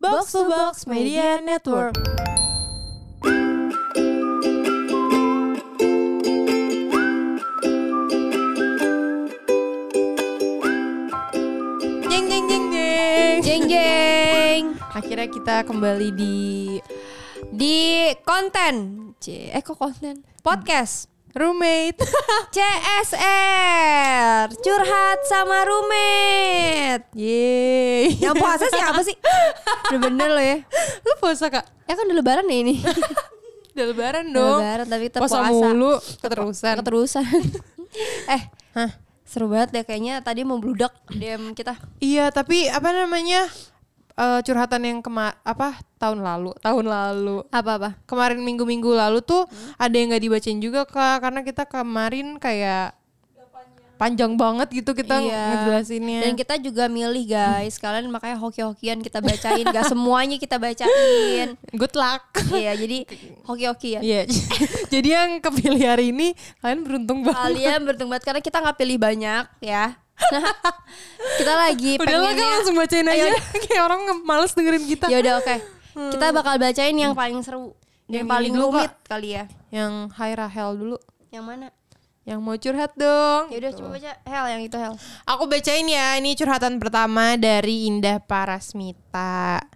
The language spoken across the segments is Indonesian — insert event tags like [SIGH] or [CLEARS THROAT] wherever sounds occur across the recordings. Box to Box Media Network. Jeng jeng jeng jeng. Jeng jeng Akhirnya kita kembali di di konten C eh kok konten podcast roommate. [LAUGHS] Ah. CSR curhat sama roommate Yeay. yang puasa siapa sih udah bener lo ya Lu puasa Kak? ya kan udah lebaran ya [LAUGHS] ini Udah lebaran Udah dong. lebaran tapi kita Puasa puasa mulu keterusan. keterusan eh Hah? seru banget ya kayaknya tadi mau bludak DM kita Iya, tapi apa namanya? eh, curhatan yang kema apa tahun lalu, tahun lalu. apa apa Kemarin minggu-minggu lalu tuh Hmm? ada yang nggak dibacain juga Kak karena kita kemarin kayak panjang banget gitu kita Iya. ngejelasinnya. Dan kita juga milih guys, kalian makanya hoki-hokian kita bacain, gak semuanya kita [LAUGHS] bacain. Good luck. [LAUGHS] Iya, jadi ya. hoki-hokian. Iya. [LAUGHS] Jadi yang kepilih hari ini kalian beruntung banget. [LAUGHS] kalian beruntung banget karena kita nggak pilih banyak ya [LAUGHS] kita lagi Udah lah kan pengennya langsung bacain aja. [LAUGHS] Kayak orang nge- males dengerin kita. ya udah oke kita bakal bacain yang paling Hmm. seru Yang yang, ini paling dulu, rumit kali ya Yang Hai Rahel dulu. yang mana Yang mau curhat dong. ya udah coba baca hell yang itu hell Aku bacain ya, ini curhatan pertama dari Indah Parasmita.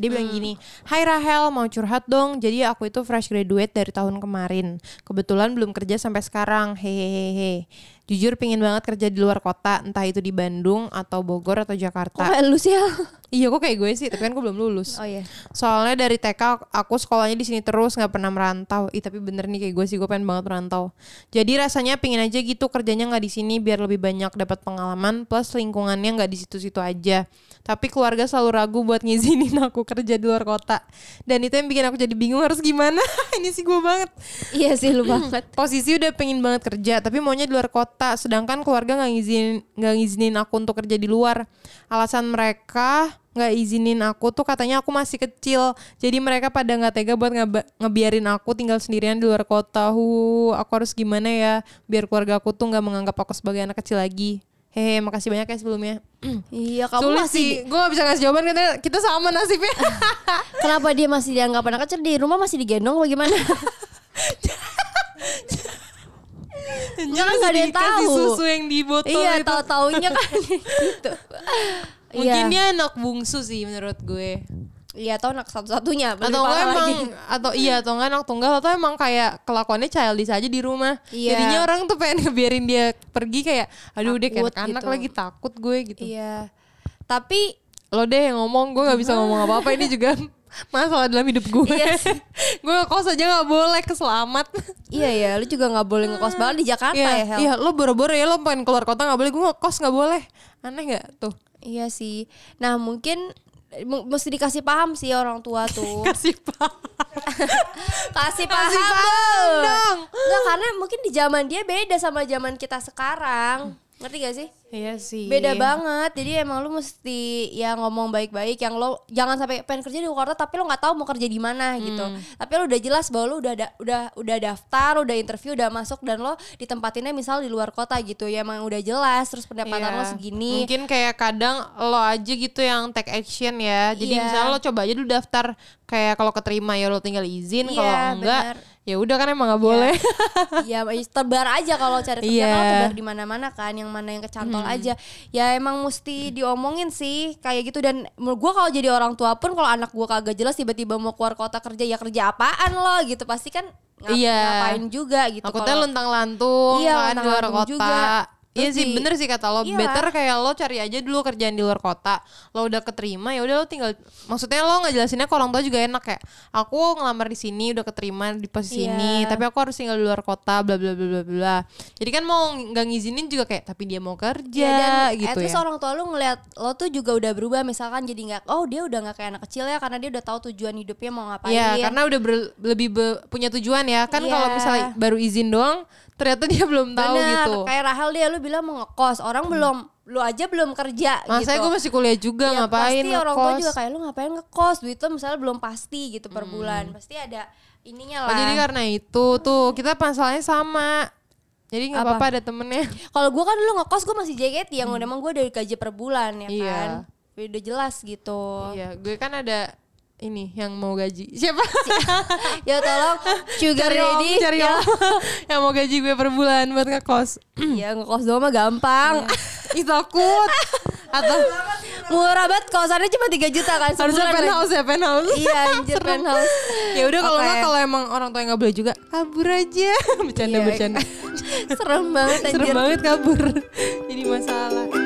Dia Hmm. bilang gini, Hai Rahel, mau curhat dong. Jadi aku itu fresh graduate dari tahun kemarin. Kebetulan belum kerja sampai sekarang. Hehehe. Jujur pingin banget kerja di luar kota, entah itu di Bandung atau Bogor atau kok Jakarta. kayak lu sih hell Iya, kok kayak gue sih, tapi kan gue belum lulus. oh iya Soalnya dari TK aku sekolahnya di sini terus nggak pernah merantau. Ih tapi bener nih kayak gue sih gue pengen banget merantau. Jadi rasanya pingin aja gitu kerjanya nggak di sini biar lebih banyak dapat pengalaman plus lingkungannya nggak di situ-situ aja. Tapi keluarga selalu ragu buat ngizinin aku kerja di luar kota. Dan itu yang bikin aku jadi bingung harus gimana. [LAUGHS] Ini sih gue banget. iya sih lu banget Posisi udah pengen banget kerja, tapi maunya di luar kota. Sedangkan keluarga nggak ngizinin nggak ngizinin aku untuk kerja di luar. Alasan mereka nggak izinin aku tuh katanya aku masih kecil. Jadi mereka pada nggak tega buat ngeba- ngebiarin aku tinggal sendirian di luar kota. Hu, aku harus gimana ya biar keluarga aku tuh nggak menganggap aku sebagai anak kecil lagi. Hehe, makasih banyak ya sebelumnya. iya kamu Sulit masih sih, gue gak bisa ngasih jawaban karena kita sama nasibnya. kenapa dia masih dianggap anak kecil di rumah masih digendong bagaimana Jangan [LAUGHS] nggak ada yang dikasih tahu. susu yang di botol iya itu. tahu taunya [LAUGHS] kan gitu Mungkin iya dia anak bungsu sih menurut gue. iya tahu anak satu satunya atau enggak emang [LAUGHS] atau iya atau enggak anak tunggal atau emang kayak kelakuannya childish aja di rumah Iya. jadinya orang tuh pengen ngebiarin dia pergi kayak aduh deh Takut kayak anak gitu. lagi takut gue gitu iya tapi lo deh yang ngomong gue nggak bisa ngomong apa apa ini [LAUGHS] juga masalah dalam hidup gue Iya sih. [LAUGHS] gue kos aja nggak boleh keselamat Iya ya, lu juga nggak boleh ngekos banget di Jakarta ya, iya Hel. iya lo boro-boro ya lo pengen keluar kota nggak boleh gue ngekos nggak boleh aneh nggak tuh Iya sih. Nah mungkin mu- mesti dikasih paham sih orang tua tuh. kasih paham [LAUGHS] Kasih paham, kasih paham Bu. dong Nggak, karena mungkin di zaman dia beda sama zaman kita sekarang. Ngerti gak sih? iya sih Beda banget. Jadi emang lu mesti ya ngomong baik-baik yang lo jangan sampai pengen kerja di Jakarta tapi lo nggak tahu mau kerja di mana gitu. Tapi lo udah jelas bahwa lo udah da- udah udah daftar, udah interview, udah masuk dan lo ditempatinnya misal di luar kota gitu. Ya emang udah jelas terus pendapatan Iya. lo segini. Mungkin kayak kadang lo aja gitu yang take action ya. Jadi Iya. misalnya lo coba aja dulu daftar kayak kalau keterima ya lo tinggal izin, kalau Iya, enggak benar. ya udah kan emang nggak boleh. [LAUGHS] ya terbar aja kalau cari kerja Iya. Hmm. kan terbar di mana-mana kan yang mana yang kecantol aja ya emang mesti diomongin sih kayak gitu dan menurut gua kalau jadi orang tua pun kalau anak gua kagak jelas tiba-tiba mau keluar kota kerja ya kerja apaan lo gitu pasti kan ngap- Iya. ngapain juga gitu Takutnya kalau- luntang-lantung Iya, kan di luar luntang-lantung kota. juga. Iya Terus sih di- bener sih kata lo Iya. better kayak lo cari aja dulu kerjaan di luar kota lo udah keterima ya udah lo tinggal maksudnya lo nggak jelasinnya ke orang tua juga enak kayak aku ngelamar di sini udah keterima di posisi Iya. ini tapi aku harus tinggal di luar kota bla bla bla bla bla jadi kan mau nggak ngizinin juga kayak tapi dia mau kerja Ya, gitu dan at least ya orang tua lu ngeliat lo tuh juga udah berubah misalkan jadi nggak oh dia udah nggak kayak anak kecil ya karena dia udah tahu tujuan hidupnya mau ngapain Iya, karena udah ber- lebih be- punya tujuan ya kan Iya. kalau misalnya baru izin doang ternyata dia belum tahu Bener, gitu Hmm. kayak Rahel dia lu bilang mau ngekos orang belum lu aja belum kerja Masa gitu gue masih kuliah juga Ya, ngapain pasti orang tua ngekos? Hmm. juga kayak lu ngapain ngekos duit lu misalnya belum pasti gitu per bulan pasti ada ininya Oh, lah jadi karena itu tuh kita masalahnya sama. Jadi nggak Apa? apa-apa ada temennya. kalau gua kan dulu ngekos gua masih JKT yang udah emang gua dari gaji per bulan ya Hmm. Iya. kan udah jelas gitu Iya, gue kan ada ini yang mau gaji [LAUGHS] siapa ya [LAUGHS] tolong sugar cari om daddy cari ya, om [LAUGHS] yang mau gaji gue per bulan buat ngekos [CLEARS THROAT] ya ngekos doang mah gampang ih takut atau murah banget kosannya cuma 3 juta kan Iya. harusnya sebulan. penthouse ya penthouse iya [LAUGHS] anjir penthouse ya udah kalau Oke. nggak kalau emang orang tua yang nggak boleh juga kabur aja [LAUGHS] bercanda Iya. bercanda [LAUGHS] serem banget anjir serem banget kabur [LAUGHS] jadi masalah